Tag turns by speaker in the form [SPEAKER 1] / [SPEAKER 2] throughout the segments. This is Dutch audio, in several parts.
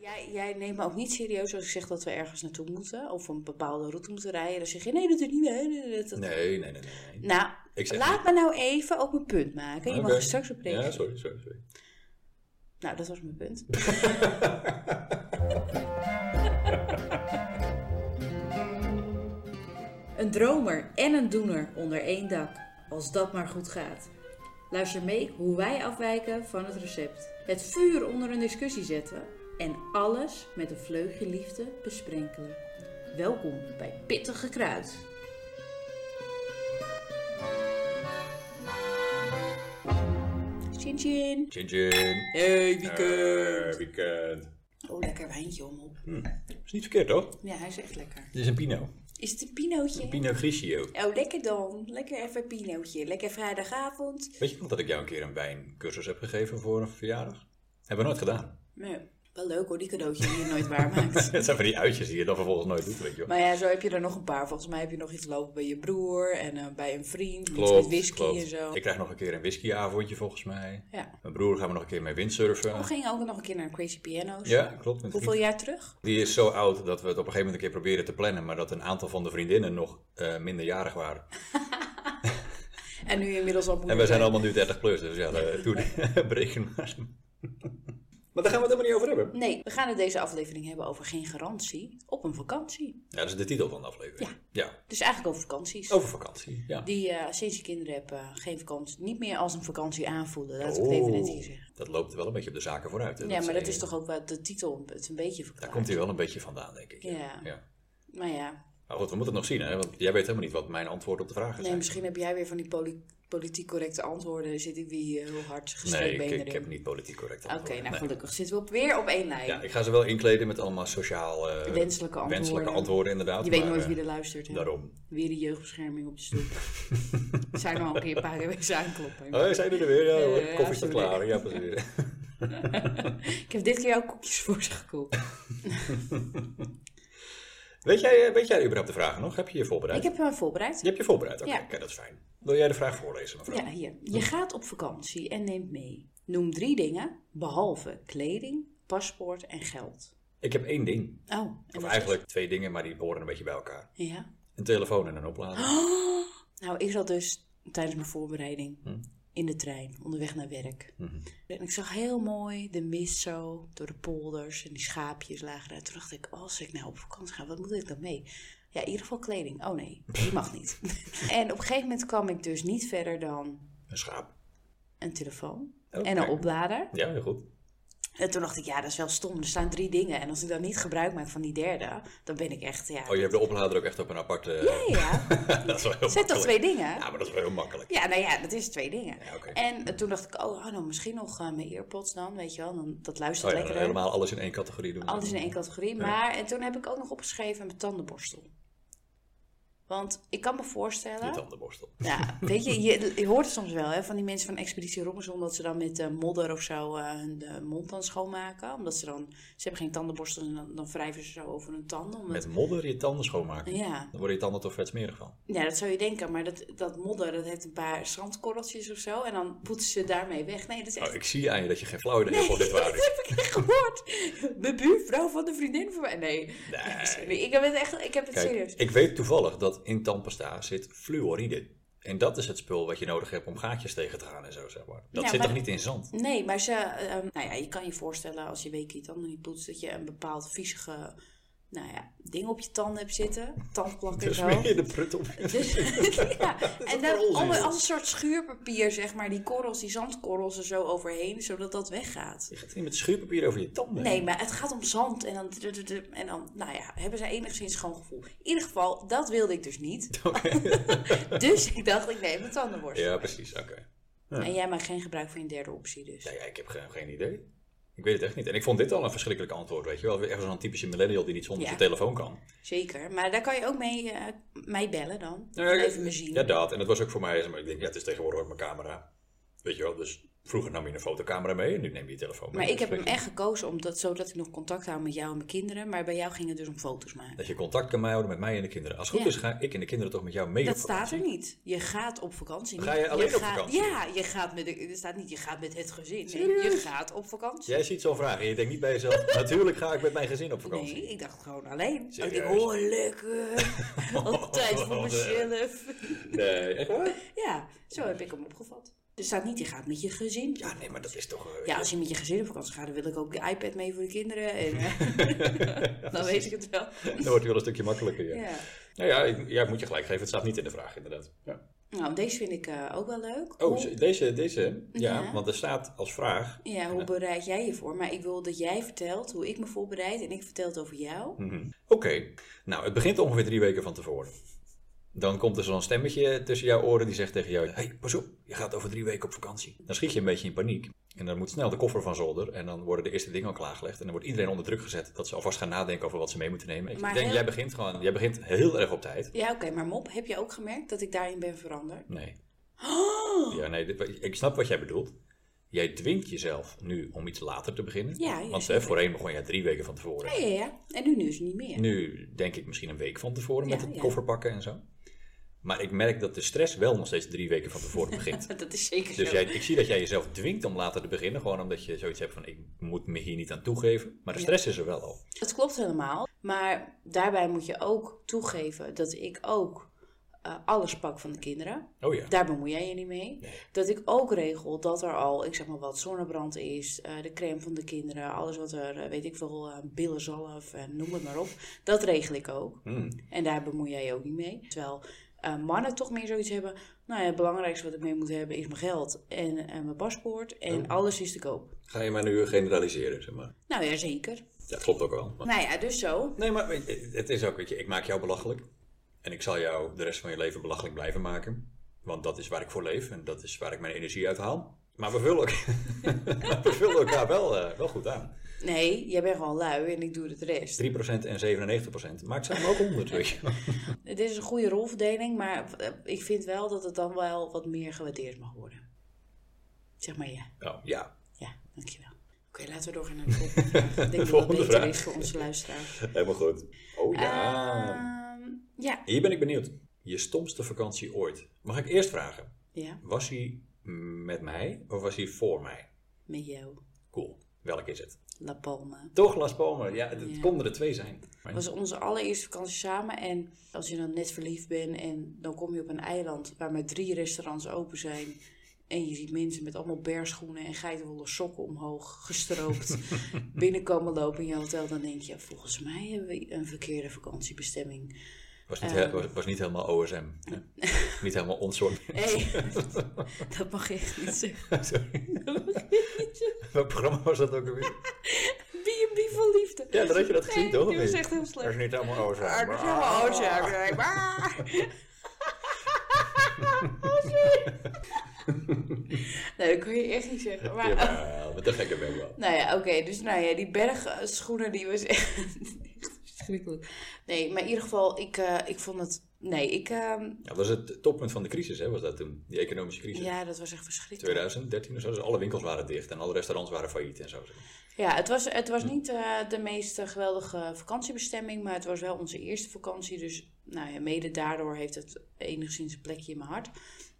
[SPEAKER 1] Jij, jij neemt me ook niet serieus als ik zeg dat we ergens naartoe moeten of een bepaalde route moeten rijden. Dan zeg je nee, dat doe ik niet meer. Nee, dat- dat-
[SPEAKER 2] Nee, nee, nee, nee. nee.
[SPEAKER 1] Nou,
[SPEAKER 2] Ik zeg
[SPEAKER 1] laat me nou even ook mijn punt maken. Je mag
[SPEAKER 2] Oké.
[SPEAKER 1] er straks op reageren.
[SPEAKER 2] Ja, sorry, sorry, sorry.
[SPEAKER 1] Nou, dat was mijn punt. een dromer en een doener onder één dak, als dat maar goed gaat. Luister mee hoe wij afwijken van het recept. Het vuur onder een discussie zetten en alles met een vleugje liefde besprenkelen. Welkom bij Pittige Kruid. Chin chin.
[SPEAKER 2] Chin chin.
[SPEAKER 1] Hey,
[SPEAKER 2] Eh, weekend.
[SPEAKER 1] Oh, lekker wijntje om op.
[SPEAKER 2] Is niet verkeerd, toch?
[SPEAKER 1] Ja, hij is echt lekker.
[SPEAKER 2] Dit is een Pinot.
[SPEAKER 1] Is het een pinootje?
[SPEAKER 2] Pinot Grigio.
[SPEAKER 1] Oh, lekker dan. Lekker even pinootje. Lekker vrijdagavond.
[SPEAKER 2] Weet je nog dat ik jou een keer een wijncursus heb gegeven voor een verjaardag? Hebben we nooit gedaan.
[SPEAKER 1] Nee, wel leuk hoor, die cadeautjes die je nooit waarmaakt.
[SPEAKER 2] Het zijn van die uitjes die je dan vervolgens nooit doet, weet je wel.
[SPEAKER 1] Maar ja, zo heb je er nog een paar. Volgens mij heb je nog iets lopen bij je broer en eh, bij een vriend. iets met whisky
[SPEAKER 2] klopt.
[SPEAKER 1] en zo.
[SPEAKER 2] Ik krijg nog een keer een whiskyavondje volgens mij.
[SPEAKER 1] Ja.
[SPEAKER 2] Mijn broer gaan we nog een keer mee windsurfen.
[SPEAKER 1] We gingen ook nog een keer naar Crazy Piano's.
[SPEAKER 2] ja, klopt. Met
[SPEAKER 1] Hoeveel
[SPEAKER 2] vrienden.
[SPEAKER 1] jaar terug?
[SPEAKER 2] Die is zo oud dat we het op een gegeven moment een keer proberen te plannen, maar dat een aantal van de vriendinnen nog eh, minderjarig waren.
[SPEAKER 1] En nu inmiddels al moeder.
[SPEAKER 2] En wij zijn allemaal nu 30 plus, dus ja, eh, toen bereken maar. Maar daar gaan we het helemaal niet over hebben.
[SPEAKER 1] Nee, we gaan het deze aflevering hebben over geen garantie op een vakantie.
[SPEAKER 2] Ja, dat is de titel van de aflevering.
[SPEAKER 1] Ja.
[SPEAKER 2] ja.
[SPEAKER 1] Dus eigenlijk over vakanties.
[SPEAKER 2] Over vakantie. Ja.
[SPEAKER 1] Die eh, sinds je kinderen hebt eh, geen vakantie, niet meer als een vakantie aanvoelen. Laat
[SPEAKER 2] Oh.
[SPEAKER 1] ik het even net hier zeggen.
[SPEAKER 2] dat loopt wel een beetje op de zaken vooruit. hè.
[SPEAKER 1] Ja, maar dat
[SPEAKER 2] eh,
[SPEAKER 1] is toch ook wat de titel het een beetje
[SPEAKER 2] Daar
[SPEAKER 1] verklaart.
[SPEAKER 2] komt hij wel een beetje vandaan, denk ik.
[SPEAKER 1] Ja. Maar ja,
[SPEAKER 2] Maar goed, we moeten het nog zien, hè? want jij weet helemaal niet wat mijn antwoord op de vraag is.
[SPEAKER 1] nee, misschien heb jij weer van die poli- politiek correcte antwoorden. Zit ik weer heel hard
[SPEAKER 2] Nee,
[SPEAKER 1] gestrekt
[SPEAKER 2] ik,
[SPEAKER 1] benen
[SPEAKER 2] ik
[SPEAKER 1] erin.
[SPEAKER 2] heb niet politiek correct
[SPEAKER 1] Oké,
[SPEAKER 2] antwoord.
[SPEAKER 1] nou
[SPEAKER 2] Nee.
[SPEAKER 1] gelukkig zitten we op, weer op één lijn.
[SPEAKER 2] Ja, ik ga ze wel inkleden met allemaal sociaal... eh,
[SPEAKER 1] Wenselijke antwoorden.
[SPEAKER 2] Wenselijke antwoorden, inderdaad.
[SPEAKER 1] je weet
[SPEAKER 2] maar,
[SPEAKER 1] nooit
[SPEAKER 2] eh,
[SPEAKER 1] wie er luistert. Hè?
[SPEAKER 2] Daarom.
[SPEAKER 1] Weer de jeugdbescherming op de stoep. zijn al een keer een paar keer wezen aankloppen.
[SPEAKER 2] Oh, zijn jullie er weer? Ja, hoor.
[SPEAKER 1] Eh, ja,
[SPEAKER 2] koffie staat
[SPEAKER 1] sorry.
[SPEAKER 2] klaar. Ja, precies.
[SPEAKER 1] Ik heb dit keer ook koekjes voor ze gekookt.
[SPEAKER 2] weet, jij, eh, weet jij überhaupt de vragen nog? Heb je je voorbereid?
[SPEAKER 1] Ik heb hem voorbereid.
[SPEAKER 2] Je hebt je voorbereid, oké.
[SPEAKER 1] Ja.
[SPEAKER 2] Oké, dat is fijn. Wil jij de vraag voorlezen, mevrouw?
[SPEAKER 1] Ja, hier. Je gaat op vakantie en neemt mee. Noem drie dingen, behalve kleding, paspoort en geld.
[SPEAKER 2] Ik heb één ding.
[SPEAKER 1] Oh, en dat
[SPEAKER 2] Of
[SPEAKER 1] is- dus-
[SPEAKER 2] eigenlijk twee dingen, maar die behoren een beetje bij elkaar.
[SPEAKER 1] Ja.
[SPEAKER 2] Een telefoon en een oplader.
[SPEAKER 1] Oh. Nou, ik zat dus tijdens mijn voorbereiding
[SPEAKER 2] Hm.
[SPEAKER 1] in de trein, onderweg naar werk. En ik zag heel mooi de mist zo door de polders en die schaapjes lagen daar. Toen dacht ik, als ik nou op vakantie ga, wat moet ik dan mee? Ja, in ieder geval kleding. Oh nee, die mag niet. en op een gegeven moment kwam ik dus niet verder dan
[SPEAKER 2] Een schaap.
[SPEAKER 1] een telefoon
[SPEAKER 2] Oké.
[SPEAKER 1] en een oplader.
[SPEAKER 2] Ja, heel goed.
[SPEAKER 1] En toen dacht ik, ja, dat is wel stom. Er staan drie dingen. En als ik dan niet gebruik maak van die derde, dan ben ik echt, ja...
[SPEAKER 2] Oh, je hebt de oplader ook echt op een aparte...
[SPEAKER 1] ja, ja.
[SPEAKER 2] dat is wel heel
[SPEAKER 1] Het zijn toch
[SPEAKER 2] makkelijk.
[SPEAKER 1] twee dingen?
[SPEAKER 2] Ja, maar dat is wel heel makkelijk.
[SPEAKER 1] Ja, nou ja, dat is twee dingen.
[SPEAKER 2] Ja, oké.
[SPEAKER 1] En eh, toen dacht ik, oh, oh, nou, misschien nog eh, mijn earpods dan, weet je wel. Dan, dat
[SPEAKER 2] Oh
[SPEAKER 1] luistert
[SPEAKER 2] ja, dan
[SPEAKER 1] lekker.
[SPEAKER 2] helemaal alles in één categorie doen.
[SPEAKER 1] Alles in één categorie. Maar en toen heb ik ook nog opgeschreven mijn tandenborstel. Want ik kan me
[SPEAKER 2] Je
[SPEAKER 1] voorstellen...
[SPEAKER 2] tandenborstel.
[SPEAKER 1] Ja, weet je, je, je hoort het soms wel hè, van die mensen van Expeditie Robinson dat ze dan met eh, modder of zo eh, hun eh, mond dan schoonmaken. Omdat ze dan, ze hebben geen tandenborstel en dan, dan wrijven ze zo over hun tanden. Omdat,
[SPEAKER 2] Met modder je tanden schoonmaken.
[SPEAKER 1] Ja.
[SPEAKER 2] Dan worden je tanden toch vet smerig van.
[SPEAKER 1] Ja, dat zou je denken, maar dat, dat modder, dat heeft een paar zandkorreltjes of zo. En dan poetsen ze daarmee weg. Nee, dat is echt...
[SPEAKER 2] Oh, ik zie aan je dat je geen flauw idee hebt of dit
[SPEAKER 1] dat
[SPEAKER 2] waar is.
[SPEAKER 1] heb ik echt gehoord. Mijn buurvrouw van de vriendin van mij. Nee. Sorry, ik heb het echt, ik heb het
[SPEAKER 2] Kijk,
[SPEAKER 1] serieus.
[SPEAKER 2] ik weet toevallig dat in tandpasta zit fluoride. En dat is het spul wat je nodig hebt om gaatjes tegen te gaan en zo, zeg maar. Dat
[SPEAKER 1] Ja,
[SPEAKER 2] zit
[SPEAKER 1] maar-
[SPEAKER 2] toch niet in zand?
[SPEAKER 1] Nee, maar ze, ehm, nou ja, je kan je voorstellen als je week je tanden niet poetst, dat je een bepaald viezige, nou ja, ding op je tanden hebt zitten. Tandplak en
[SPEAKER 2] Dus
[SPEAKER 1] zo.
[SPEAKER 2] meer je de prut op.
[SPEAKER 1] Dus, ja, en
[SPEAKER 2] wel
[SPEAKER 1] dan
[SPEAKER 2] onzin.
[SPEAKER 1] allemaal als een soort schuurpapier, zeg maar, die korrels, die zandkorrels er zo overheen, zodat dat weggaat.
[SPEAKER 2] Je gaat niet met schuurpapier over je tanden.
[SPEAKER 1] Nee, maar het gaat om zand en dan, en dan nou ja, hebben ze enigszins schoon gevoel. In ieder geval, dat wilde ik dus niet. dus ik dacht, ik neem mijn tandenborstel.
[SPEAKER 2] Ja, precies. Oké.
[SPEAKER 1] En jij maakt geen gebruik van je derde optie dus.
[SPEAKER 2] Ja, ja, ik heb geen, geen idee. Ik weet het echt niet. En ik vond dit al een verschrikkelijk antwoord, weet je wel. Echt zo'n typische millennial die niet zonder
[SPEAKER 1] Ja.
[SPEAKER 2] zijn telefoon kan.
[SPEAKER 1] Zeker, maar daar kan je ook mee eh, mij bellen dan.
[SPEAKER 2] Nou ja,
[SPEAKER 1] Even me zien.
[SPEAKER 2] Ja, dat. En dat was ook voor mij. zeg maar, Ik denk, ja, het is tegenwoordig ook mijn camera. Weet je wel, dus vroeger nam je een fotocamera mee en nu neem je je telefoon mee.
[SPEAKER 1] Maar ik
[SPEAKER 2] Dat
[SPEAKER 1] heb hem
[SPEAKER 2] is-
[SPEAKER 1] echt gekozen omdat, zodat ik nog contact hou met jou en mijn kinderen. Maar bij jou ging het dus om foto's maken.
[SPEAKER 2] Dat je contact kan houden met mij en de kinderen. Als het goed
[SPEAKER 1] Ja.
[SPEAKER 2] is, ga ik en de kinderen toch met jou mee
[SPEAKER 1] Dat
[SPEAKER 2] op
[SPEAKER 1] staat
[SPEAKER 2] vakantie.
[SPEAKER 1] er niet. Je gaat op vakantie.
[SPEAKER 2] Ga je alleen op
[SPEAKER 1] gaat-
[SPEAKER 2] vakantie?
[SPEAKER 1] Ja, je gaat met, de- er staat niet je gaat met het gezin. Nee, je
[SPEAKER 2] Serieus?
[SPEAKER 1] gaat op vakantie.
[SPEAKER 2] Jij ziet zo'n vraag en je denkt niet bij jezelf, natuurlijk ga ik met mijn gezin op vakantie.
[SPEAKER 1] Nee, ik dacht gewoon alleen. Ik
[SPEAKER 2] Serieus?
[SPEAKER 1] denk,
[SPEAKER 2] Oh,
[SPEAKER 1] oh lekker. Altijd voor
[SPEAKER 2] Wat eh.
[SPEAKER 1] mezelf.
[SPEAKER 2] Nee, echt waar?
[SPEAKER 1] Ja, zo heb ik hem opgevat. Er staat niet, je gaat met je gezin.
[SPEAKER 2] Ja, nee, maar dat is toch... eh,
[SPEAKER 1] Ja, als je met je gezin op vakantie gaat, dan wil ik ook de iPad mee voor de kinderen. En, eh, dan weet ik het wel.
[SPEAKER 2] Dan wordt het wel een stukje makkelijker, ja.
[SPEAKER 1] Ja.
[SPEAKER 2] Nou ja, ik, ja, ik moet je gelijk geven. Het staat niet in de vraag, inderdaad. Ja.
[SPEAKER 1] Nou, deze vind ik eh, ook wel leuk.
[SPEAKER 2] Oh,
[SPEAKER 1] Hoe-
[SPEAKER 2] ze- deze, deze ja,
[SPEAKER 1] Ja.
[SPEAKER 2] want er staat als vraag...
[SPEAKER 1] ja, hoe bereid jij je voor? Maar ik wil dat jij vertelt hoe ik me voorbereid en ik vertel het over jou.
[SPEAKER 2] mhm. Oké, nou, het begint ongeveer drie weken van tevoren. Dan komt er zo'n stemmetje tussen jouw oren die zegt tegen jou... hey, pas op, je gaat over drie weken op vakantie. Dan schiet je een beetje in paniek. En dan moet snel de koffer van zolder. En dan worden de eerste dingen al klaargelegd. En dan wordt iedereen onder druk gezet dat ze alvast gaan nadenken over wat ze mee moeten nemen. Ik
[SPEAKER 1] Maar
[SPEAKER 2] denk,
[SPEAKER 1] heel-
[SPEAKER 2] jij begint gewoon... Jij begint heel erg op tijd.
[SPEAKER 1] Ja, oké, maar Mop, heb je ook gemerkt dat ik daarin ben veranderd?
[SPEAKER 2] Nee.
[SPEAKER 1] Oh!
[SPEAKER 2] Ja, nee, dit- ik snap wat jij bedoelt. Jij dwingt jezelf nu om iets later te beginnen.
[SPEAKER 1] Ja, ja,
[SPEAKER 2] Want
[SPEAKER 1] snap
[SPEAKER 2] hè, voorheen begon jij drie weken van tevoren.
[SPEAKER 1] Ja, ja, ja. En nu, nu is het niet meer.
[SPEAKER 2] Nu denk ik misschien een week van tevoren met
[SPEAKER 1] Ja,
[SPEAKER 2] het
[SPEAKER 1] ja.
[SPEAKER 2] koffer pakken en zo. Maar ik merk dat de stress wel nog steeds drie weken van tevoren begint.
[SPEAKER 1] Dat is zeker
[SPEAKER 2] Dus
[SPEAKER 1] zo.
[SPEAKER 2] jij, ik zie dat jij jezelf dwingt om later te beginnen. Gewoon omdat je zoiets hebt van ik moet me hier niet aan toegeven. Maar de stress is er wel al.
[SPEAKER 1] Dat klopt helemaal. Maar daarbij moet je ook toegeven dat ik ook eh, alles pak van de kinderen.
[SPEAKER 2] Oh ja.
[SPEAKER 1] Daar bemoei jij je niet mee. Dat ik ook regel dat er al, ik zeg maar wat, zonnebrand is, eh, de crème van de kinderen, alles wat er, eh, weet ik veel, eh, billenzalf en noem het maar op. Dat regel ik ook.
[SPEAKER 2] Hmm.
[SPEAKER 1] En daar bemoei jij je ook niet mee. Terwijl eh, mannen toch meer zoiets hebben, nou ja, het belangrijkste wat ik mee moet hebben is mijn geld en, en mijn paspoort en alles is te koop.
[SPEAKER 2] Ga je mij nu generaliseren, zeg maar.
[SPEAKER 1] Nou ja, zeker.
[SPEAKER 2] Ja, klopt ook wel.
[SPEAKER 1] Nou ja, dus zo.
[SPEAKER 2] Nee, maar weet je, het is ook, weet je, ik maak jou belachelijk. En ik zal jou de rest van je leven belachelijk blijven maken. Want dat is waar ik voor leef en dat is waar ik mijn energie uit haal. Maar we vullen, elk- we vullen elkaar wel, eh, wel goed aan. 3%
[SPEAKER 1] Nee, jij bent gewoon lui en ik doe het rest.
[SPEAKER 2] en 97% maakt samen ook 100, weet je. wel.
[SPEAKER 1] Het is een goede rolverdeling, maar eh, ik vind wel dat het dan wel wat meer gewaardeerd mag worden. Zeg maar ja.
[SPEAKER 2] Nou ja,
[SPEAKER 1] Ja, dankjewel. Oké, laten we doorgaan naar de volgende vraag. Ik denk dat dat
[SPEAKER 2] volgende
[SPEAKER 1] beter
[SPEAKER 2] vraag.
[SPEAKER 1] is voor onze luisteraar.
[SPEAKER 2] helemaal goed. Oh ja.
[SPEAKER 1] Ehm, ja.
[SPEAKER 2] Hier ben ik benieuwd. Je stomste vakantie ooit. Mag ik eerst vragen,
[SPEAKER 1] Ja,
[SPEAKER 2] was hij met mij of was hij voor mij?
[SPEAKER 1] met jou.
[SPEAKER 2] Cool. Welk is het?
[SPEAKER 1] La Palma.
[SPEAKER 2] Toch Las Palmas. Ja, het, het
[SPEAKER 1] Ja.
[SPEAKER 2] konden er twee zijn. Maar-
[SPEAKER 1] Het was onze allereerste vakantie samen. En als je dan net verliefd bent en dan kom je op een eiland waar maar drie restaurants open zijn. En je ziet mensen met allemaal beerschoenen en geitenwolle sokken omhoog gestroopt binnenkomen lopen in je hotel. Dan denk je, volgens mij hebben we een verkeerde vakantiebestemming.
[SPEAKER 2] Was
[SPEAKER 1] eh.
[SPEAKER 2] niet, he- was, was niet helemaal OSM. hè? niet helemaal ons soort.
[SPEAKER 1] Hé, dat mag je echt niet zeggen.
[SPEAKER 2] Sorry. Welk programma was dat ook alweer?
[SPEAKER 1] B&B van liefde.
[SPEAKER 2] Ja, dan had je dat gezien,
[SPEAKER 1] Nee,
[SPEAKER 2] toch?
[SPEAKER 1] Die
[SPEAKER 2] Of
[SPEAKER 1] was
[SPEAKER 2] niet?
[SPEAKER 1] echt heel slecht.
[SPEAKER 2] Was niet helemaal OSM.
[SPEAKER 1] Ah, dat is helemaal oud, ja. Nee, maar- Oh, sorry. Nee, dat kun je echt niet zeggen. Maar,
[SPEAKER 2] Jawel, Wat een gekke ben ik wel.
[SPEAKER 1] nou ja, oké. dus nou ja, die bergschoenen, die was echt, echt verschrikkelijk. Nee, maar in ieder geval, ik, eh, ik vond het... Nee, ik... eh,
[SPEAKER 2] Ja, dat was het toppunt van de crisis, hè? Was dat toen? Die economische crisis.
[SPEAKER 1] ja, dat was echt verschrikkelijk.
[SPEAKER 2] 2013 of zo. Dus alle winkels waren dicht en alle restaurants waren failliet en zo. zeg maar.
[SPEAKER 1] Ja, het was, het was niet eh, de meest eh, geweldige vakantiebestemming, maar het was wel onze eerste vakantie. Dus nou ja, mede daardoor heeft het enigszins een plekje in mijn hart.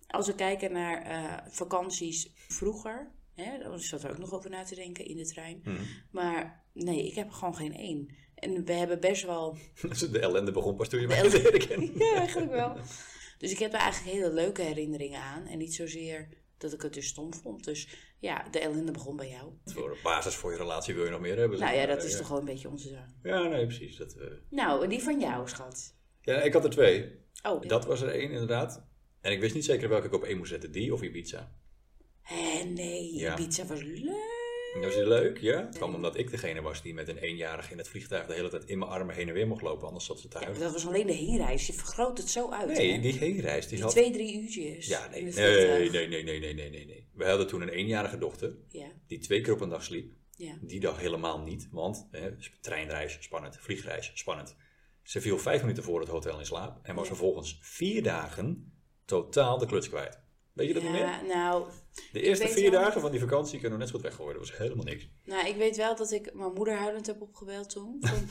[SPEAKER 1] Als we kijken naar eh, vakanties vroeger, hè, dan zat er ook nog over na te denken in de trein. Maar nee, ik heb er gewoon geen één. En we hebben best wel
[SPEAKER 2] Dus de ellende begon pas toen je mij leerde kennen.
[SPEAKER 1] ja, eigenlijk wel. Dus ik heb daar eigenlijk hele leuke herinneringen aan. En niet zozeer dat ik het dus stom vond. Dus ja, de ellende begon bij jou.
[SPEAKER 2] Voor een basis voor je relatie wil je nog meer hebben. zeg
[SPEAKER 1] Nou ja,
[SPEAKER 2] maar.
[SPEAKER 1] dat is toch wel een beetje onze...
[SPEAKER 2] Ja, nee, precies. Dat, eh.
[SPEAKER 1] Nou, en die van jou, schat.
[SPEAKER 2] Ja, ik had er twee.
[SPEAKER 1] Oh,
[SPEAKER 2] Dat was er één, inderdaad. En ik wist niet zeker welke ik op één moest zetten. Die of Ibiza.
[SPEAKER 1] Hé, Eh, nee,
[SPEAKER 2] Ja.
[SPEAKER 1] pizza was leuk.
[SPEAKER 2] Dat is leuk, ja. Het kwam omdat ik degene was die met een eenjarige in het vliegtuig de hele tijd in mijn armen heen en weer mocht lopen, anders zat ze
[SPEAKER 1] Ja,
[SPEAKER 2] thuis.
[SPEAKER 1] maar dat was alleen de heenreis. Je vergroot het zo uit.
[SPEAKER 2] nee,
[SPEAKER 1] hè?
[SPEAKER 2] die heenreis, die
[SPEAKER 1] Die
[SPEAKER 2] had...
[SPEAKER 1] twee, drie uurtjes.
[SPEAKER 2] Ja, nee,
[SPEAKER 1] in het
[SPEAKER 2] nee,
[SPEAKER 1] vliegtuig.
[SPEAKER 2] nee, nee, nee, nee, nee, nee, nee. We hadden toen een eenjarige dochter,
[SPEAKER 1] Ja,
[SPEAKER 2] die twee keer op een dag sliep.
[SPEAKER 1] ja.
[SPEAKER 2] Die dag helemaal niet, want hè, treinreis, spannend, vliegreis, spannend. Ze viel vijf minuten voor het hotel in slaap en was vervolgens vier dagen totaal de kluts kwijt. Weet je dat niet meer?
[SPEAKER 1] Ja, nou,
[SPEAKER 2] De eerste
[SPEAKER 1] weet
[SPEAKER 2] vier
[SPEAKER 1] wel-
[SPEAKER 2] dagen van die vakantie kunnen we net zo goed weggooien. Dat was helemaal niks.
[SPEAKER 1] nou, ik weet wel dat ik mijn moeder huilend heb opgebeld toen. Van,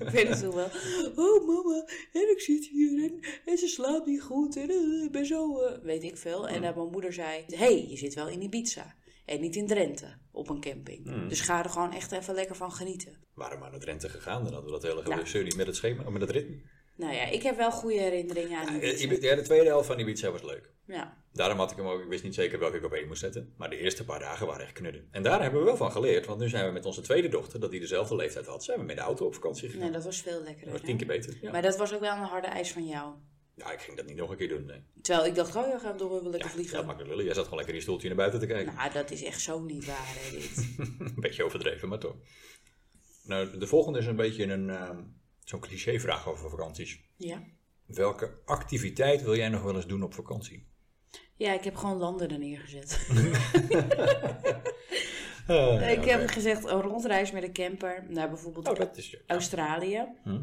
[SPEAKER 1] ik weet het toen wel. Oh mama, en ik zit hier en, en ze slaapt niet goed en eh, ik ben zo, eh, weet ik veel.
[SPEAKER 2] Hm.
[SPEAKER 1] En dat mijn moeder zei, hé, hey, je zit wel in Ibiza en niet in Drenthe op een camping.
[SPEAKER 2] Hm.
[SPEAKER 1] Dus ga er gewoon echt even lekker van genieten.
[SPEAKER 2] Waren we maar naar Drenthe gegaan, dan hadden we dat hele
[SPEAKER 1] Ja.
[SPEAKER 2] ja. serie met het schema, oh, met het ritme.
[SPEAKER 1] Nou ja, ik heb wel goede herinneringen aan
[SPEAKER 2] Eh,
[SPEAKER 1] Ibiza.
[SPEAKER 2] Ibi- Ja, de tweede helft van Ibiza was leuk.
[SPEAKER 1] Ja,
[SPEAKER 2] Daarom had ik hem ook, ik wist niet zeker welke ik op één moest zetten. Maar de eerste paar dagen waren echt knudden. En daar hebben we wel van geleerd, want nu zijn we met onze tweede dochter, dat die dezelfde leeftijd had, zijn we met de auto op vakantie gegaan.
[SPEAKER 1] nee, dat was veel
[SPEAKER 2] dat
[SPEAKER 1] lekkerder.
[SPEAKER 2] was
[SPEAKER 1] hè?
[SPEAKER 2] tien keer beter. Ja.
[SPEAKER 1] Maar dat was ook wel een harde eis van jou.
[SPEAKER 2] ja, ik ging dat niet nog een keer doen. Nee.
[SPEAKER 1] Terwijl ik dacht, oh ja, gaan we door, we lekker
[SPEAKER 2] Ja,
[SPEAKER 1] vliegen.
[SPEAKER 2] ja, makkelijk lullen. Jij zat gewoon lekker in je stoeltje naar buiten te kijken.
[SPEAKER 1] Nou, dat is echt zo niet waar, hè, dit.
[SPEAKER 2] Een beetje overdreven, maar toch. Nou, de volgende is een beetje een, ehm, zo'n clichévraag over vakanties.
[SPEAKER 1] ja.
[SPEAKER 2] Welke activiteit wil jij nog wel eens doen op vakantie?
[SPEAKER 1] ja, ik heb gewoon landen er neergezet.
[SPEAKER 2] Eh,
[SPEAKER 1] ik
[SPEAKER 2] oké.
[SPEAKER 1] heb gezegd, een rondreis met een camper naar bijvoorbeeld
[SPEAKER 2] Oh, dat is...
[SPEAKER 1] Australië.
[SPEAKER 2] Naar,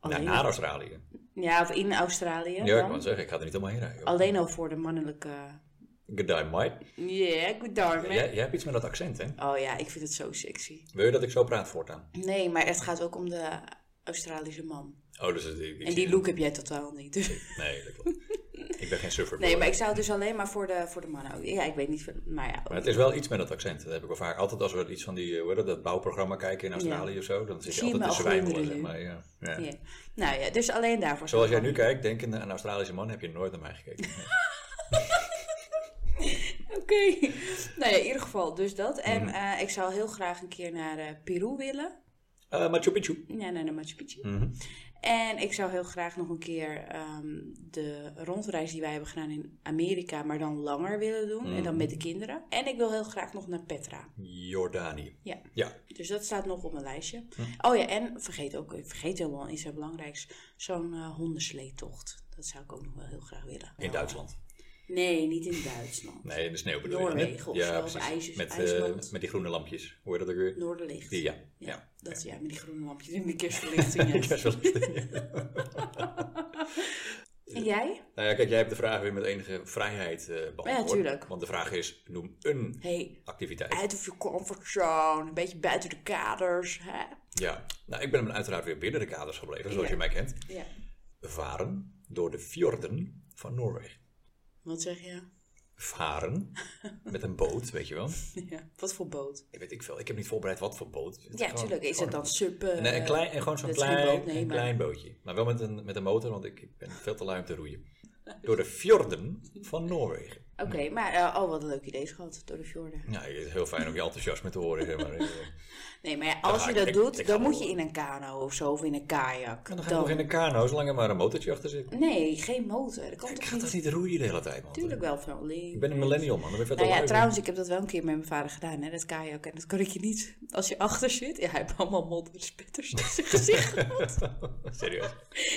[SPEAKER 1] Alleen-
[SPEAKER 2] naar Australië.
[SPEAKER 1] Oh, Ja, of in Australië
[SPEAKER 2] Ja, ik
[SPEAKER 1] dan.
[SPEAKER 2] kan zeggen, ik ga er niet allemaal heen rijden. joh.
[SPEAKER 1] Alleen al voor de mannelijke...
[SPEAKER 2] G'day, Mike.
[SPEAKER 1] Yeah, good dark, man.
[SPEAKER 2] Jij, jij hebt iets met dat accent, hè?
[SPEAKER 1] Oh ja, ik vind het zo sexy.
[SPEAKER 2] Wil je dat ik zo praat voortaan?
[SPEAKER 1] Nee, maar het gaat ook om de Australische man.
[SPEAKER 2] Oh, dus ik, ik
[SPEAKER 1] En
[SPEAKER 2] zie-
[SPEAKER 1] die look heb jij totaal niet. dus-
[SPEAKER 2] Nee, dat klopt. ik ben geen surfer.
[SPEAKER 1] Nee,
[SPEAKER 2] maar...
[SPEAKER 1] maar ik zou het dus alleen maar voor de, voor de mannen. Ja, ik weet niet. veel- Maar ja,
[SPEAKER 2] het is wel iets met dat accent. Dat heb ik wel vaak. Altijd als we iets van die, eh, hoe heet dat, dat bouwprogramma kijken in Australië
[SPEAKER 1] Ja.
[SPEAKER 2] of zo, dan zit je
[SPEAKER 1] Zie je
[SPEAKER 2] altijd te
[SPEAKER 1] me al
[SPEAKER 2] zwijmelen, zeg
[SPEAKER 1] glunderen
[SPEAKER 2] maar. Ja. Ja.
[SPEAKER 1] Ja. Nou ja, dus alleen daarvoor.
[SPEAKER 2] Zoals jij nu kijkt, denkende aan een Australische man, heb je nooit naar mij gekeken. Nee.
[SPEAKER 1] Oké. nou ja, in ieder geval dus dat. En
[SPEAKER 2] Mhm.
[SPEAKER 1] eh, ik zou heel graag een keer naar eh, Peru willen.
[SPEAKER 2] Eh, Machu Picchu.
[SPEAKER 1] Ja, naar de Machu Picchu.
[SPEAKER 2] Mhm.
[SPEAKER 1] En ik zou heel graag nog een keer ehm, de rondreis die wij hebben gedaan in Amerika, maar dan langer willen doen. En
[SPEAKER 2] Mhm.
[SPEAKER 1] dan met de kinderen. En ik wil heel graag nog naar Petra.
[SPEAKER 2] Jordanië.
[SPEAKER 1] Ja.
[SPEAKER 2] Ja.
[SPEAKER 1] Dus dat staat nog op mijn lijstje. Oh ja, en vergeet ook, ik vergeet helemaal iets heel belangrijks. Zo'n eh, hondensleetocht. Dat zou ik ook nog wel heel graag willen.
[SPEAKER 2] In Duitsland.
[SPEAKER 1] Nee, niet in Duitsland.
[SPEAKER 2] Nee, in de sneeuw bedoel je.
[SPEAKER 1] Noorwegen
[SPEAKER 2] hè?
[SPEAKER 1] of
[SPEAKER 2] ja,
[SPEAKER 1] zo, of
[SPEAKER 2] precies.
[SPEAKER 1] IJs-
[SPEAKER 2] met, eh,
[SPEAKER 1] IJsland.
[SPEAKER 2] met die groene lampjes. Hoe heet dat ook weer?
[SPEAKER 1] Noorderlicht.
[SPEAKER 2] Die, ja.
[SPEAKER 1] Ja,
[SPEAKER 2] ja.
[SPEAKER 1] Dat, ja, met die groene lampjes en die kerstverlichting. ja.
[SPEAKER 2] Kerstverlichting, ja.
[SPEAKER 1] En jij?
[SPEAKER 2] Nou ja, kijk, jij hebt de vraag weer met enige vrijheid eh, beantwoord.
[SPEAKER 1] Ja, tuurlijk.
[SPEAKER 2] Want de vraag is, noem een
[SPEAKER 1] hey,
[SPEAKER 2] activiteit.
[SPEAKER 1] uit of je comfortzone, een beetje buiten de kaders. Hè?
[SPEAKER 2] Ja. Nou, ik ben hem uiteraard weer binnen de kaders gebleven, zoals
[SPEAKER 1] Ja.
[SPEAKER 2] je mij kent.
[SPEAKER 1] Ja.
[SPEAKER 2] Varen door de fjorden van Noorwegen.
[SPEAKER 1] Wat zeg je?
[SPEAKER 2] Varen met een boot, weet je wel.
[SPEAKER 1] Ja. Wat voor boot?
[SPEAKER 2] Ik weet ik veel. Ik heb niet voorbereid wat voor boot. Het
[SPEAKER 1] Ja,
[SPEAKER 2] gewoon-
[SPEAKER 1] tuurlijk. Is
[SPEAKER 2] gewoon
[SPEAKER 1] het dan sub... eh,
[SPEAKER 2] Nee, een klein, en gewoon zo'n
[SPEAKER 1] dat is geen
[SPEAKER 2] klein,
[SPEAKER 1] boot, nee,
[SPEAKER 2] een
[SPEAKER 1] maar-
[SPEAKER 2] klein bootje. Maar wel met een, met een motor, want ik ben veel te lui om te roeien. Door de fjorden van Noorwegen.
[SPEAKER 1] Oké, maar eh, oh, wat een leuk idee, schat. Door de fjorden.
[SPEAKER 2] Ja, het is heel fijn om je enthousiasme te horen. Zeg maar. En
[SPEAKER 1] Nee, maar ja, als
[SPEAKER 2] ga
[SPEAKER 1] je
[SPEAKER 2] ik-
[SPEAKER 1] dat
[SPEAKER 2] ik-
[SPEAKER 1] doet,
[SPEAKER 2] ik ga
[SPEAKER 1] dan moet
[SPEAKER 2] door.
[SPEAKER 1] je in een kano of zo, of in een kajak.
[SPEAKER 2] dan ga ik nog in een kano, zolang er maar een motortje achter zit.
[SPEAKER 1] Nee, geen motor. Dat kan
[SPEAKER 2] Ik
[SPEAKER 1] toch
[SPEAKER 2] ga
[SPEAKER 1] niet?
[SPEAKER 2] toch niet roeien de hele tijd, man?
[SPEAKER 1] Tuurlijk wel, van links.
[SPEAKER 2] Ik ben een millennial, man. Dan ben je veel te
[SPEAKER 1] Nou ja,
[SPEAKER 2] lui.
[SPEAKER 1] trouwens, ik heb dat wel een keer met mijn vader gedaan, hè, dat kajak. En dat kan ik je niet, als je achter zit. Ja, hij heeft allemaal modderspetters in zijn gezicht.
[SPEAKER 2] Serieus.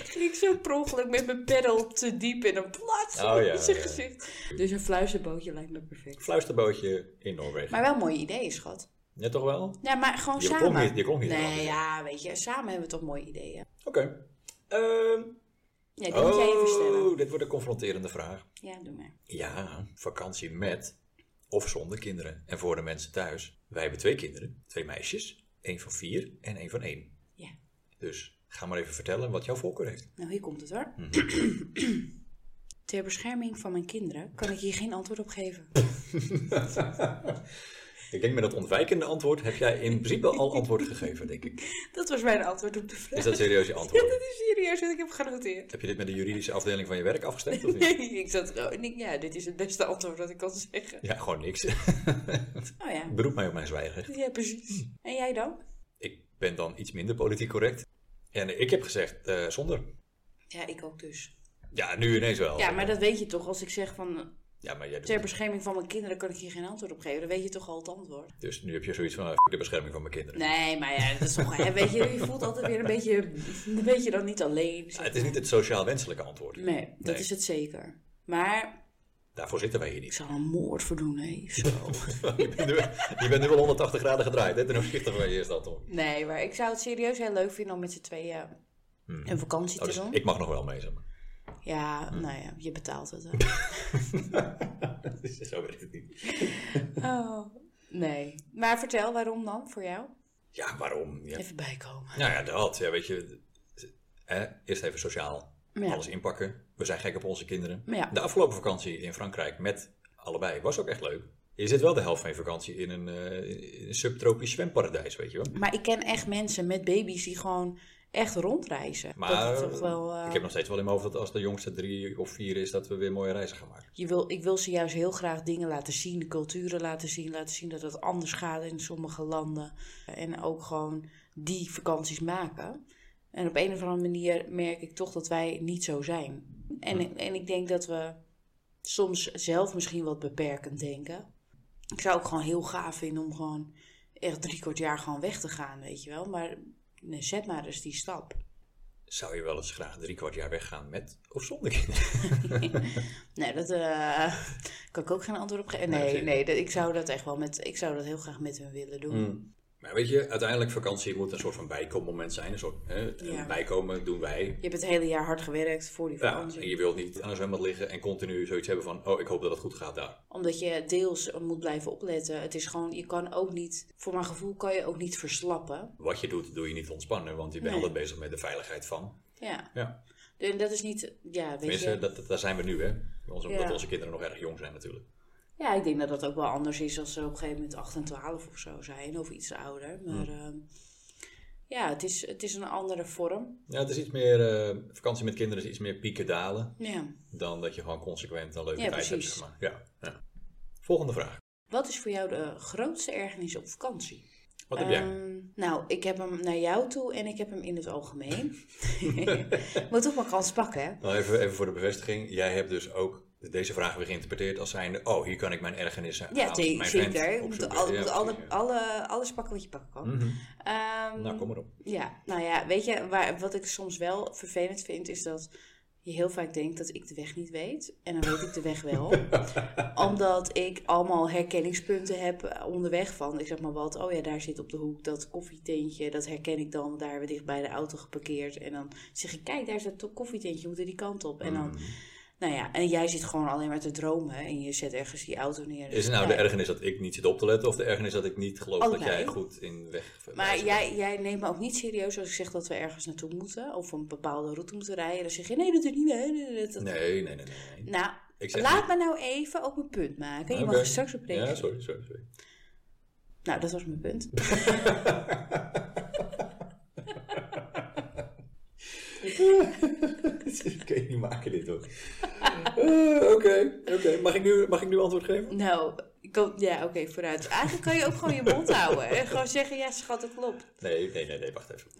[SPEAKER 1] ging ik zo per ongeluk met mijn peddel te diep in een plaats
[SPEAKER 2] Oh, ja,
[SPEAKER 1] in zijn
[SPEAKER 2] ja.
[SPEAKER 1] gezicht. Dus een fluisterbootje lijkt me perfect.
[SPEAKER 2] Fluisterbootje in Noorwegen.
[SPEAKER 1] Maar wel mooie ideeën, schat.
[SPEAKER 2] Ja, toch wel? Oké.
[SPEAKER 1] Ja, maar gewoon
[SPEAKER 2] Je
[SPEAKER 1] samen.
[SPEAKER 2] klonk niet- je klonk niet
[SPEAKER 1] nee,
[SPEAKER 2] anders.
[SPEAKER 1] ja, weet je, samen hebben we toch mooie ideeën.
[SPEAKER 2] Ehm,
[SPEAKER 1] Ja, die moet jij even stellen.
[SPEAKER 2] oh, dit wordt een confronterende vraag.
[SPEAKER 1] Ja, doe maar.
[SPEAKER 2] Ja, vakantie met of zonder kinderen. En voor de mensen thuis, wij hebben twee kinderen. Twee meisjes. één van vier en één van één.
[SPEAKER 1] Ja.
[SPEAKER 2] Dus ga maar even vertellen wat jouw voorkeur heeft.
[SPEAKER 1] Nou, hier komt het hoor.
[SPEAKER 2] Mhm.
[SPEAKER 1] Ter bescherming van mijn kinderen kan ik hier geen antwoord op geven.
[SPEAKER 2] Ik denk met dat ontwijkende antwoord heb jij in principe al antwoord gegeven, denk ik.
[SPEAKER 1] Dat was mijn antwoord op de vraag.
[SPEAKER 2] Is dat serieus je
[SPEAKER 1] Ja,
[SPEAKER 2] antwoord?
[SPEAKER 1] dat is serieus wat ik heb genoteerd.
[SPEAKER 2] Heb je dit met de juridische afdeling van je werk afgestemd of niet?
[SPEAKER 1] Nee, ik zat oh, en ik- ja, dit is het beste antwoord dat ik kan zeggen.
[SPEAKER 2] Ja, gewoon niks.
[SPEAKER 1] Oh ja.
[SPEAKER 2] Beroep mij op mijn zwijgen.
[SPEAKER 1] Ja,
[SPEAKER 2] Hm.
[SPEAKER 1] precies. En jij dan?
[SPEAKER 2] Ik ben dan iets minder politiek correct. En ik heb gezegd eh, zonder.
[SPEAKER 1] Ja, ik ook dus.
[SPEAKER 2] Ja, nu ineens wel.
[SPEAKER 1] Ja, maar dat weet je toch. Als ik zeg van
[SPEAKER 2] Ja, maar jij doet
[SPEAKER 1] ter
[SPEAKER 2] het.
[SPEAKER 1] bescherming van mijn kinderen kan ik hier geen antwoord op geven. Dan weet je toch al het antwoord.
[SPEAKER 2] Dus nu heb je zoiets van, eh, de bescherming van mijn kinderen.
[SPEAKER 1] Nee, maar ja, dat is toch... hè, weet je, je voelt altijd weer een beetje... Dan weet je dan niet alleen.
[SPEAKER 2] Ja, het is niet het sociaal wenselijke antwoord.
[SPEAKER 1] Nee, dat
[SPEAKER 2] Nee.
[SPEAKER 1] is het zeker. Maar
[SPEAKER 2] Daarvoor zitten wij hier
[SPEAKER 1] ik
[SPEAKER 2] niet.
[SPEAKER 1] zal een moord voor doen, hè. of Zo.
[SPEAKER 2] je, bent nu, je bent nu wel 180 graden gedraaid, hè, ten opzichte van je eerste antwoord.
[SPEAKER 1] Nee, maar ik zou het serieus heel leuk vinden om met z'n tweeën een vakantie
[SPEAKER 2] Oh,
[SPEAKER 1] te
[SPEAKER 2] dus Hmm.
[SPEAKER 1] doen.
[SPEAKER 2] ik mag nog wel mee, zeg maar.
[SPEAKER 1] Ja, nou ja, je betaalt het. hè.
[SPEAKER 2] Dus Zo weet ik het niet.
[SPEAKER 1] oh, nee. Maar vertel, waarom dan voor jou?
[SPEAKER 2] Ja, waarom? Ja.
[SPEAKER 1] Even bijkomen.
[SPEAKER 2] Nou ja, dat. Ja, weet je, hè? eerst even sociaal.
[SPEAKER 1] Ja.
[SPEAKER 2] Alles inpakken. We zijn gek op onze kinderen.
[SPEAKER 1] Ja.
[SPEAKER 2] De afgelopen vakantie in Frankrijk met allebei was ook echt leuk. Je zit wel de helft van je vakantie in een, eh, in een subtropisch zwemparadijs, weet je wel.
[SPEAKER 1] Maar ik ken echt mensen met baby's die gewoon echt rondreizen. dat
[SPEAKER 2] Maar
[SPEAKER 1] is toch wel, eh,
[SPEAKER 2] ik heb nog steeds wel in mijn hoofd dat als de jongste drie of vier is, dat we weer mooie reizen gaan maken.
[SPEAKER 1] je wil, ik wil ze juist heel graag dingen laten zien, de culturen laten zien, laten zien dat het anders gaat in sommige landen. En ook gewoon die vakanties maken. En op een of andere manier merk ik toch dat wij niet zo zijn. En, en ik denk dat we soms zelf misschien wat beperkend denken. Ik zou ook gewoon heel gaaf vinden om gewoon echt drie kwart jaar gewoon weg te gaan, weet je wel. Maar nee, zet maar eens die stap.
[SPEAKER 2] Zou je wel eens graag drie kwart jaar weggaan met of zonder kinderen?
[SPEAKER 1] Nee, dat eh, kan ik ook geen antwoord op geven.
[SPEAKER 2] Nee,
[SPEAKER 1] Nee,
[SPEAKER 2] zeker.
[SPEAKER 1] nee, dat, ik zou dat echt wel met, ik zou dat heel graag met hun willen doen.
[SPEAKER 2] Mm. Maar weet je, uiteindelijk vakantie moet een soort van bijkommoment zijn. Een soort hè,
[SPEAKER 1] Ja.
[SPEAKER 2] bijkomen doen wij.
[SPEAKER 1] Je hebt het hele jaar hard gewerkt voor die
[SPEAKER 2] Ja,
[SPEAKER 1] vakantie.
[SPEAKER 2] en je wilt niet aan een zwembad liggen en continu zoiets hebben van, oh, ik hoop dat het goed gaat daar.
[SPEAKER 1] Omdat je deels moet blijven opletten. Het is gewoon, je kan ook niet, voor mijn gevoel kan je ook niet verslappen.
[SPEAKER 2] Wat je doet, doe je niet ontspannen, want je bent
[SPEAKER 1] Nee.
[SPEAKER 2] altijd bezig met de veiligheid van.
[SPEAKER 1] Ja.
[SPEAKER 2] Ja.
[SPEAKER 1] En dat is niet, ja, weet
[SPEAKER 2] Tenminste,
[SPEAKER 1] je.
[SPEAKER 2] dat, dat- daar zijn we nu, hè. Onze,
[SPEAKER 1] Ja.
[SPEAKER 2] Omdat onze kinderen nog erg jong zijn natuurlijk.
[SPEAKER 1] Ja, ik denk dat dat ook wel anders is als ze op een gegeven moment 8 en 12 of zo zijn. Of iets ouder. Maar
[SPEAKER 2] Mm.
[SPEAKER 1] ehm, ja, het is, het is een andere vorm.
[SPEAKER 2] Ja, het is iets meer, eh, vakantie met kinderen is iets meer pieken dalen,
[SPEAKER 1] Ja.
[SPEAKER 2] dan dat je gewoon consequent een leuke
[SPEAKER 1] Ja,
[SPEAKER 2] tijd
[SPEAKER 1] precies.
[SPEAKER 2] hebt, zeg maar. Ja, ja. Volgende vraag.
[SPEAKER 1] Wat is voor jou de grootste ergernis op vakantie?
[SPEAKER 2] Wat heb jij?
[SPEAKER 1] Ehm, nou, ik heb hem naar jou toe en ik heb hem in het algemeen. Moet toch maar kans pakken, hè?
[SPEAKER 2] Nou, even, even voor de bevestiging. Jij hebt dus ook deze vraag weer geïnterpreteerd als zijnde... oh, hier kan ik mijn ergernissen aan
[SPEAKER 1] Ja,
[SPEAKER 2] mijn
[SPEAKER 1] te-
[SPEAKER 2] vent
[SPEAKER 1] zeker. Je moet,
[SPEAKER 2] opzoeken.
[SPEAKER 1] al,
[SPEAKER 2] Ja,
[SPEAKER 1] moet
[SPEAKER 2] precies,
[SPEAKER 1] alle,
[SPEAKER 2] ja.
[SPEAKER 1] alle, alles pakken wat je pakken kan.
[SPEAKER 2] Mhm.
[SPEAKER 1] Ehm,
[SPEAKER 2] Nou, kom maar op.
[SPEAKER 1] Ja, nou ja, weet je, waar, wat ik soms wel vervelend vind, is dat je heel vaak denkt dat ik de weg niet weet. En dan weet ik de weg wel. omdat ik allemaal herkenningspunten heb eh, onderweg van, ik zeg maar wat, oh ja, daar zit op de hoek dat koffietentje, dat herken ik dan, daar hebben we dicht bij de auto geparkeerd. En dan zeg ik, kijk, daar is dat to- koffietentje, we moeten die kant op. En
[SPEAKER 2] Mm.
[SPEAKER 1] dan, nou ja, en jij zit gewoon alleen maar te dromen en je zet ergens die auto neer.
[SPEAKER 2] Is het nou de ergernis dat ik niet zit op te letten... of de ergernis dat ik niet geloof dat
[SPEAKER 1] Allebei.
[SPEAKER 2] jij goed in weg...
[SPEAKER 1] Maar
[SPEAKER 2] wijzen
[SPEAKER 1] jij, jij neemt me ook niet serieus als ik zeg dat we ergens naartoe moeten of een bepaalde route moeten rijden. Dan zeg je nee, dat is niet. hè, dat- dat- dat-
[SPEAKER 2] bent? Nee, nee, nee, nee. nee.
[SPEAKER 1] Nou,
[SPEAKER 2] Ik zeg
[SPEAKER 1] laat me nou even op mijn punt maken. Je mag
[SPEAKER 2] Oké.
[SPEAKER 1] er straks op
[SPEAKER 2] Ja,
[SPEAKER 1] reageren.
[SPEAKER 2] sorry, sorry, sorry.
[SPEAKER 1] nou, dat was mijn punt.
[SPEAKER 2] Ik kan je niet maken dit, hoor. Eh, Oké, oké. Mag, ik nu- mag ik nu antwoord geven?
[SPEAKER 1] Nou, ik kom- ja, oké, vooruit. Eigenlijk kan je ook gewoon je mond houden en gewoon zeggen ja, schat, dat klopt.
[SPEAKER 2] Nee, nee, nee, nee, wacht even.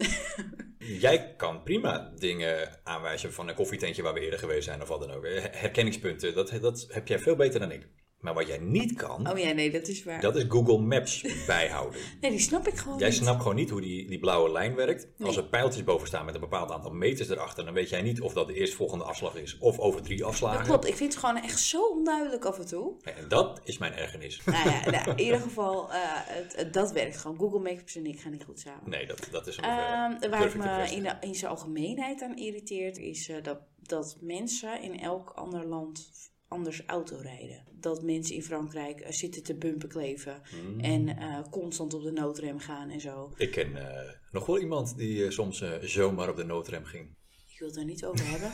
[SPEAKER 2] Jij kan prima dingen aanwijzen van een koffietentje waar we eerder geweest zijn of wat dan ook. Herkenningspunten, dat, dat heb jij veel beter dan ik. Maar wat jij niet kan,
[SPEAKER 1] Oh ja, nee, dat is waar.
[SPEAKER 2] dat is Google Maps bijhouden.
[SPEAKER 1] Nee, die snap ik gewoon
[SPEAKER 2] Jij
[SPEAKER 1] niet.
[SPEAKER 2] snapt gewoon niet hoe die, die blauwe lijn werkt. Als
[SPEAKER 1] Nee.
[SPEAKER 2] er pijltjes boven staan met een bepaald aantal meters erachter, dan weet jij niet of dat de eerstvolgende afslag is of over drie afslagen.
[SPEAKER 1] Dat klopt, ik vind het gewoon echt zo onduidelijk af en toe.
[SPEAKER 2] En dat is mijn ergernis.
[SPEAKER 1] Nou ja, nou, in ieder geval, eh, het, het- dat werkt gewoon. Google Maps en ik gaan niet goed samen.
[SPEAKER 2] Nee, dat, dat is een
[SPEAKER 1] Ehm,
[SPEAKER 2] uh,
[SPEAKER 1] waar ik me in, de- in zijn algemeenheid aan irriteert, is eh, dat, dat mensen in elk ander land anders auto rijden. Dat mensen in Frankrijk eh, zitten te bumpen kleven
[SPEAKER 2] Hmm.
[SPEAKER 1] en eh, constant op de noodrem gaan en zo.
[SPEAKER 2] Ik ken eh, nog wel iemand die eh, soms eh, zomaar op de noodrem ging.
[SPEAKER 1] Ik wil het daar niet over hebben.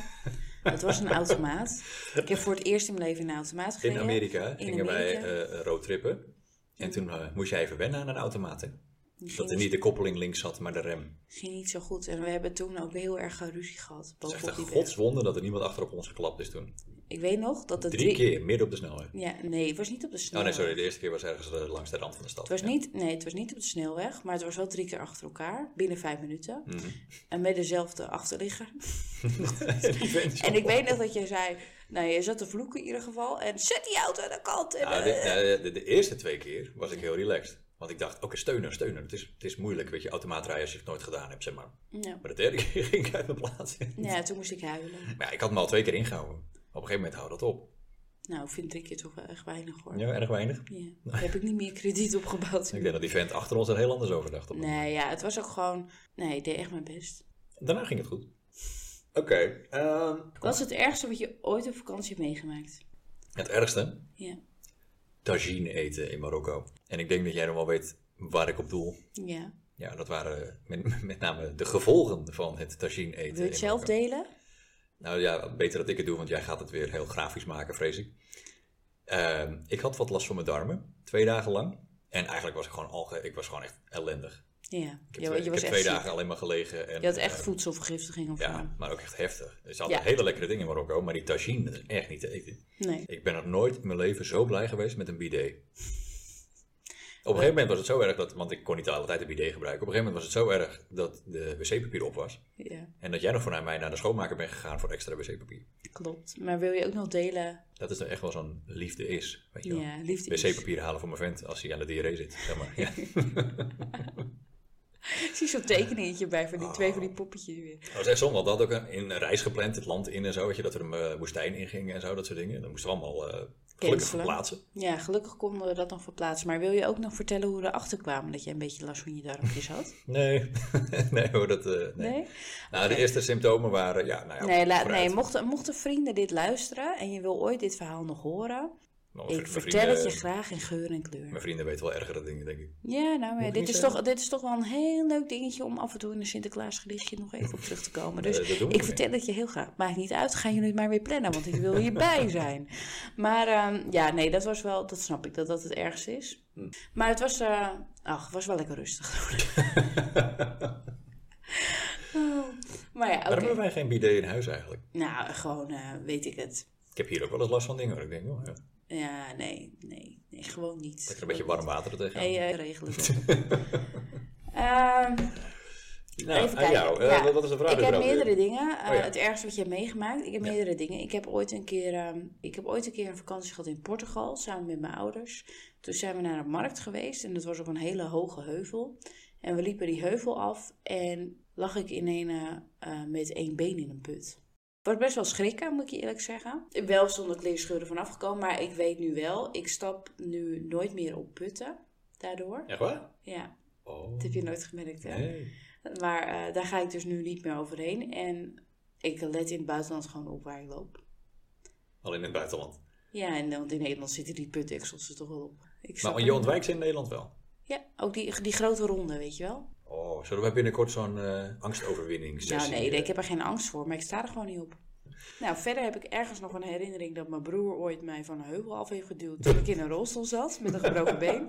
[SPEAKER 1] Het was een automaat. Ik heb voor het eerst in mijn leven in een automaat gereden.
[SPEAKER 2] In Amerika
[SPEAKER 1] In
[SPEAKER 2] gingen wij
[SPEAKER 1] Amerika.
[SPEAKER 2] eh roadtrippen. En toen eh, moest jij even wennen aan een automaat. hè?
[SPEAKER 1] Die ging,
[SPEAKER 2] Dat er niet de koppeling links zat, maar de rem.
[SPEAKER 1] ging niet zo goed. En we hebben toen ook heel erg eh, ruzie gehad.
[SPEAKER 2] Het is echt
[SPEAKER 1] Bovenop
[SPEAKER 2] een
[SPEAKER 1] die weg.
[SPEAKER 2] godswonde dat er niemand achter op ons geklapt is toen.
[SPEAKER 1] Ik weet nog dat de
[SPEAKER 2] Drie keer, midden op de snelweg.
[SPEAKER 1] Ja, nee, het was niet op de snelweg.
[SPEAKER 2] Oh nee, sorry. De eerste keer was ergens eh, langs de rand van de stad.
[SPEAKER 1] Het was
[SPEAKER 2] Ja.
[SPEAKER 1] niet, nee, het was niet op de snelweg, maar het was wel drie keer achter elkaar, binnen vijf minuten.
[SPEAKER 2] Mhm.
[SPEAKER 1] En met dezelfde achterligger.
[SPEAKER 2] Die vent is
[SPEAKER 1] En ik
[SPEAKER 2] wel-
[SPEAKER 1] weet nog dat jij zei, nou je zat te vloeken in ieder geval en zet die auto aan de kant. En,
[SPEAKER 2] Nou,
[SPEAKER 1] eh,
[SPEAKER 2] de, eh, de, de eerste twee keer was ik heel relaxed. Want ik dacht, oké, steunen, steunen. Het is, het is moeilijk, weet je, automaatrijden als je het nooit gedaan hebt, zeg maar.
[SPEAKER 1] nou,
[SPEAKER 2] Maar de derde keer ging ik uit mijn plaats.
[SPEAKER 1] ja, toen moest ik huilen.
[SPEAKER 2] Maar ja, ik had me al twee keer ingehouden. Op een gegeven moment houdt dat op.
[SPEAKER 1] Nou, ik vind drie keer toch wel echt weinig hoor. Ja.
[SPEAKER 2] Ja, erg weinig.
[SPEAKER 1] Daar heb ik niet meer krediet opgebouwd.
[SPEAKER 2] Ik denk dat die vent achter ons er heel anders over dacht. op dat
[SPEAKER 1] Nee, ja, het was ook gewoon, nee, ik deed echt mijn best.
[SPEAKER 2] Daarna ging het goed. Oké. ehm,
[SPEAKER 1] Wat is het ergste wat je ooit op vakantie hebt meegemaakt?
[SPEAKER 2] het ergste?
[SPEAKER 1] Ja.
[SPEAKER 2] Tagine eten in Marokko. En ik denk dat jij nog wel weet waar ik op doel.
[SPEAKER 1] ja.
[SPEAKER 2] Ja, dat waren met, met name de gevolgen van het tagine eten.
[SPEAKER 1] Wil je het
[SPEAKER 2] in
[SPEAKER 1] zelf
[SPEAKER 2] Marokko.
[SPEAKER 1] delen?
[SPEAKER 2] Nou ja, beter dat ik het doe, want jij gaat het weer heel grafisch maken, vrees ik. Ehm, ik had wat last van mijn darmen, twee dagen lang. En eigenlijk was ik gewoon alge... Ik was gewoon echt ellendig.
[SPEAKER 1] Ja.
[SPEAKER 2] Ik heb,
[SPEAKER 1] Ja,
[SPEAKER 2] twee,
[SPEAKER 1] je was
[SPEAKER 2] ik heb
[SPEAKER 1] echt
[SPEAKER 2] twee
[SPEAKER 1] ziek.
[SPEAKER 2] dagen alleen maar gelegen. En,
[SPEAKER 1] Je had echt
[SPEAKER 2] eh,
[SPEAKER 1] voedselvergiftiging of zo.
[SPEAKER 2] Ja, maar ook echt heftig. Ze hadden
[SPEAKER 1] Ja.
[SPEAKER 2] hele lekkere dingen in Marokko, maar die tagine dat is echt niet te eten.
[SPEAKER 1] Nee.
[SPEAKER 2] Ik ben nog nooit in mijn leven zo blij geweest met een bidet. Op een gegeven moment was het zo erg dat, want ik kon niet de hele tijd een bidet gebruiken. Op een gegeven moment was het zo erg dat de wc-papier op was.
[SPEAKER 1] Ja,
[SPEAKER 2] En dat jij nog vanuit mij naar de schoonmaker bent gegaan voor extra wc-papier.
[SPEAKER 1] klopt. Maar wil je ook nog delen?
[SPEAKER 2] Dat is dan echt wel zo'n liefde is. Weet je wel.
[SPEAKER 1] Ja, liefde. is-
[SPEAKER 2] Wc-papier halen voor mijn vent als hij aan de diarree zit. Zeg maar. ja.
[SPEAKER 1] Ik zie zo'n tekeningetje bij van die twee van die poppetjes weer.
[SPEAKER 2] Dat was echt zonde. want We hadden ook een, in een reis gepland, het land in en zo. Weet je, dat we de eh, woestijn ingingen en zo, dat soort dingen. Dan moesten we allemaal eh gelukkig
[SPEAKER 1] Cancelen.
[SPEAKER 2] verplaatsen.
[SPEAKER 1] Ja, gelukkig konden we dat nog verplaatsen. Maar wil je ook nog vertellen hoe we erachter kwamen dat je een beetje last van je darmpjes had?
[SPEAKER 2] Nee, nee hoor, dat... eh, nee.
[SPEAKER 1] Nee?
[SPEAKER 2] Nou, de eerste symptomen waren... Ja, nou ja,
[SPEAKER 1] Nee, la-
[SPEAKER 2] vooruit.
[SPEAKER 1] nee mochten, mochten vrienden dit luisteren en je wil ooit dit verhaal nog horen,
[SPEAKER 2] Maar mijn
[SPEAKER 1] ik
[SPEAKER 2] vri- mijn
[SPEAKER 1] vertel het je
[SPEAKER 2] vrienden-
[SPEAKER 1] graag in geur en kleur.
[SPEAKER 2] Mijn vrienden weten wel ergere dingen, denk ik.
[SPEAKER 1] Ja, nou, maar
[SPEAKER 2] ik
[SPEAKER 1] dit
[SPEAKER 2] niet
[SPEAKER 1] is,
[SPEAKER 2] zeggen?
[SPEAKER 1] toch, dit is toch wel een heel leuk dingetje om af en toe in een Sinterklaasgedichtje nog even op terug te komen. Dus
[SPEAKER 2] Eh, dat doen we
[SPEAKER 1] ik
[SPEAKER 2] niet.
[SPEAKER 1] vertel het je heel graag. Maakt niet uit, gaan jullie het maar weer plannen, want ik wil hierbij zijn. Maar ehm, ja, nee, dat was wel, dat snap ik, dat dat het ergste is.
[SPEAKER 2] Hm.
[SPEAKER 1] Maar het was, eh, ach, het was wel lekker rustig. Oh, maar ja, oké.
[SPEAKER 2] Waarom hebben wij geen bidet in huis eigenlijk?
[SPEAKER 1] Nou, gewoon, eh, weet ik het.
[SPEAKER 2] Ik heb hier ook wel eens last van dingen, hoor. Ik denk, oh, ja,
[SPEAKER 1] Ja, nee, nee, nee, gewoon niet.
[SPEAKER 2] lekker een beetje warm water er tegenaan.
[SPEAKER 1] Nee, eh, regelen we. Ehm,
[SPEAKER 2] nou,
[SPEAKER 1] Even
[SPEAKER 2] aan
[SPEAKER 1] kijken.
[SPEAKER 2] jou. Eh,
[SPEAKER 1] Ja.
[SPEAKER 2] wat- Wat is de vraag?
[SPEAKER 1] Ik heb
[SPEAKER 2] überhaupt weer?
[SPEAKER 1] meerdere dingen. Eh,
[SPEAKER 2] Oh ja.
[SPEAKER 1] Het ergste wat je hebt meegemaakt. Ik heb meerdere dingen. Ik heb, ooit een keer, ehm, ik heb ooit een keer een vakantie gehad in Portugal. Samen met mijn ouders. Toen zijn we naar een markt geweest. En dat was op een hele hoge heuvel. En we liepen die heuvel af. En lag ik in een, eh, eh, met één been in een put. Het was best wel schrikken, moet ik je eerlijk zeggen. Wel zonder kleerscheuren vanaf gekomen. Maar ik weet nu wel. Ik stap nu nooit meer op putten. Daardoor.
[SPEAKER 2] Echt waar?
[SPEAKER 1] Ja,
[SPEAKER 2] Oh,
[SPEAKER 1] dat heb je nooit gemerkt hè?
[SPEAKER 2] nee.
[SPEAKER 1] Maar eh, daar ga ik dus nu niet meer overheen. En ik let in het buitenland gewoon op waar ik loop.
[SPEAKER 2] Alleen in het buitenland.
[SPEAKER 1] Ja, en want in Nederland zitten die putdeksels er toch wel op. Ik snap het
[SPEAKER 2] Maar je
[SPEAKER 1] niet.
[SPEAKER 2] ontwijkt ze in Nederland wel.
[SPEAKER 1] Ja, ook die, die grote ronde, weet je wel.
[SPEAKER 2] Oh, zullen wij binnenkort zo'n eh angstoverwinning
[SPEAKER 1] Nou
[SPEAKER 2] sessie?
[SPEAKER 1] nee,
[SPEAKER 2] eh,
[SPEAKER 1] ik heb er geen angst voor, maar ik sta er gewoon niet op. Nou, verder heb ik ergens nog een herinnering dat mijn broer ooit mij van een heuvel af heeft geduwd toen ik in een rolstoel zat met een gebroken been.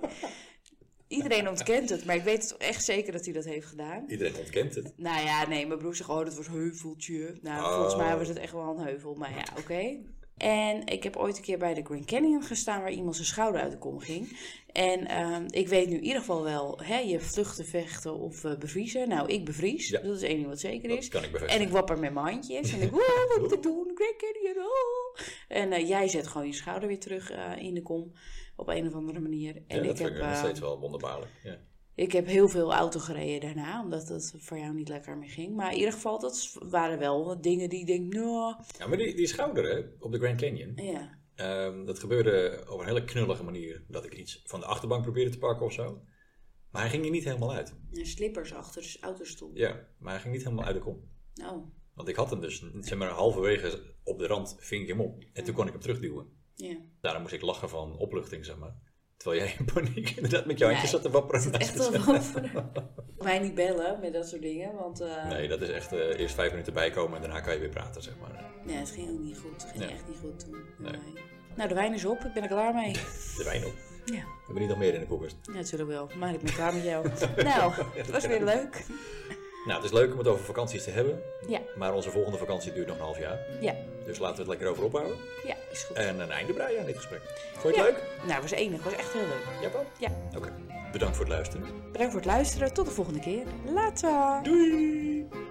[SPEAKER 1] Iedereen ontkent het, maar ik weet toch echt zeker dat hij dat heeft gedaan.
[SPEAKER 2] Iedereen ontkent het.
[SPEAKER 1] Nou ja, nee, mijn broer zegt, oh, dat was heuveltje. Nou,
[SPEAKER 2] Oh.
[SPEAKER 1] volgens mij was het echt wel een heuvel, maar ja, oké. En ik heb ooit een keer bij de Grand Canyon gestaan waar iemand zijn schouder uit de kom ging. En ehm, ik weet nu in ieder geval wel, hè, je vluchten, vechten of eh, bevriezen. Nou, ik bevries,
[SPEAKER 2] Ja.
[SPEAKER 1] dat is één ding wat zeker
[SPEAKER 2] Dat
[SPEAKER 1] is.
[SPEAKER 2] kan ik bevestigen.
[SPEAKER 1] En ik wapper met mijn handjes en ik, wow, wat moet ik doen? Grand Canyon, oh. En eh, jij zet gewoon je schouder weer terug eh, in de kom op een of andere manier.
[SPEAKER 2] Ja,
[SPEAKER 1] En
[SPEAKER 2] dat
[SPEAKER 1] ik
[SPEAKER 2] vind
[SPEAKER 1] heb,
[SPEAKER 2] ik nog
[SPEAKER 1] eh,
[SPEAKER 2] steeds wel wonderbaarlijk. Ja.
[SPEAKER 1] ik heb heel veel auto gereden daarna, omdat dat voor jou niet lekker meer ging. Maar in ieder geval, dat s- waren wel wat dingen die ik denk, nou,
[SPEAKER 2] Ja, maar die, die schouder hè, op de Grand Canyon,
[SPEAKER 1] ja.
[SPEAKER 2] ehm, dat gebeurde op een hele knullige manier. Dat ik iets van de achterbank probeerde te pakken of zo. Maar hij ging er niet helemaal uit.
[SPEAKER 1] En slippers achter de autostoel.
[SPEAKER 2] Ja, maar hij ging niet helemaal uit de kom.
[SPEAKER 1] Oh,
[SPEAKER 2] Want ik had hem dus, zeg maar, halverwege op de rand ving ik hem op. En toen kon ik hem terugduwen.
[SPEAKER 1] ja.
[SPEAKER 2] Daarom moest ik lachen van opluchting, zeg maar. Terwijl jij in paniek inderdaad met je handjes
[SPEAKER 1] Nee,
[SPEAKER 2] zat te wapperen.
[SPEAKER 1] Echt wel wat voor- Mij niet bellen met dat soort dingen, want eh,
[SPEAKER 2] Nee, dat is echt eh, eerst vijf minuten bijkomen en daarna kan je weer praten, zeg maar.
[SPEAKER 1] nee, het ging ook niet goed. Het ging
[SPEAKER 2] Nee.
[SPEAKER 1] echt niet goed toen. met
[SPEAKER 2] Nee.
[SPEAKER 1] mij. Nou, de wijn is op. Ik ben er klaar mee.
[SPEAKER 2] De wijn op. We
[SPEAKER 1] Ja,
[SPEAKER 2] hebben niet nog meer in de koelkast.
[SPEAKER 1] natuurlijk wel. Maar ik ben klaar met jou. Nou, het was weer leuk.
[SPEAKER 2] Nou, het is leuk om het over vakanties te hebben.
[SPEAKER 1] Ja.
[SPEAKER 2] Maar onze volgende vakantie duurt nog een half jaar.
[SPEAKER 1] Ja,
[SPEAKER 2] Dus laten we het lekker over ophouden.
[SPEAKER 1] ja, is goed.
[SPEAKER 2] En een einde breien aan dit gesprek. Eh, Vond je
[SPEAKER 1] Ja.
[SPEAKER 2] het leuk?
[SPEAKER 1] Nou, het was enig. Het was echt heel leuk.
[SPEAKER 2] Ja, Paul?
[SPEAKER 1] Ja.
[SPEAKER 2] Oké. Bedankt voor het luisteren.
[SPEAKER 1] Bedankt voor het luisteren. Tot de volgende keer. Later.
[SPEAKER 2] Doei!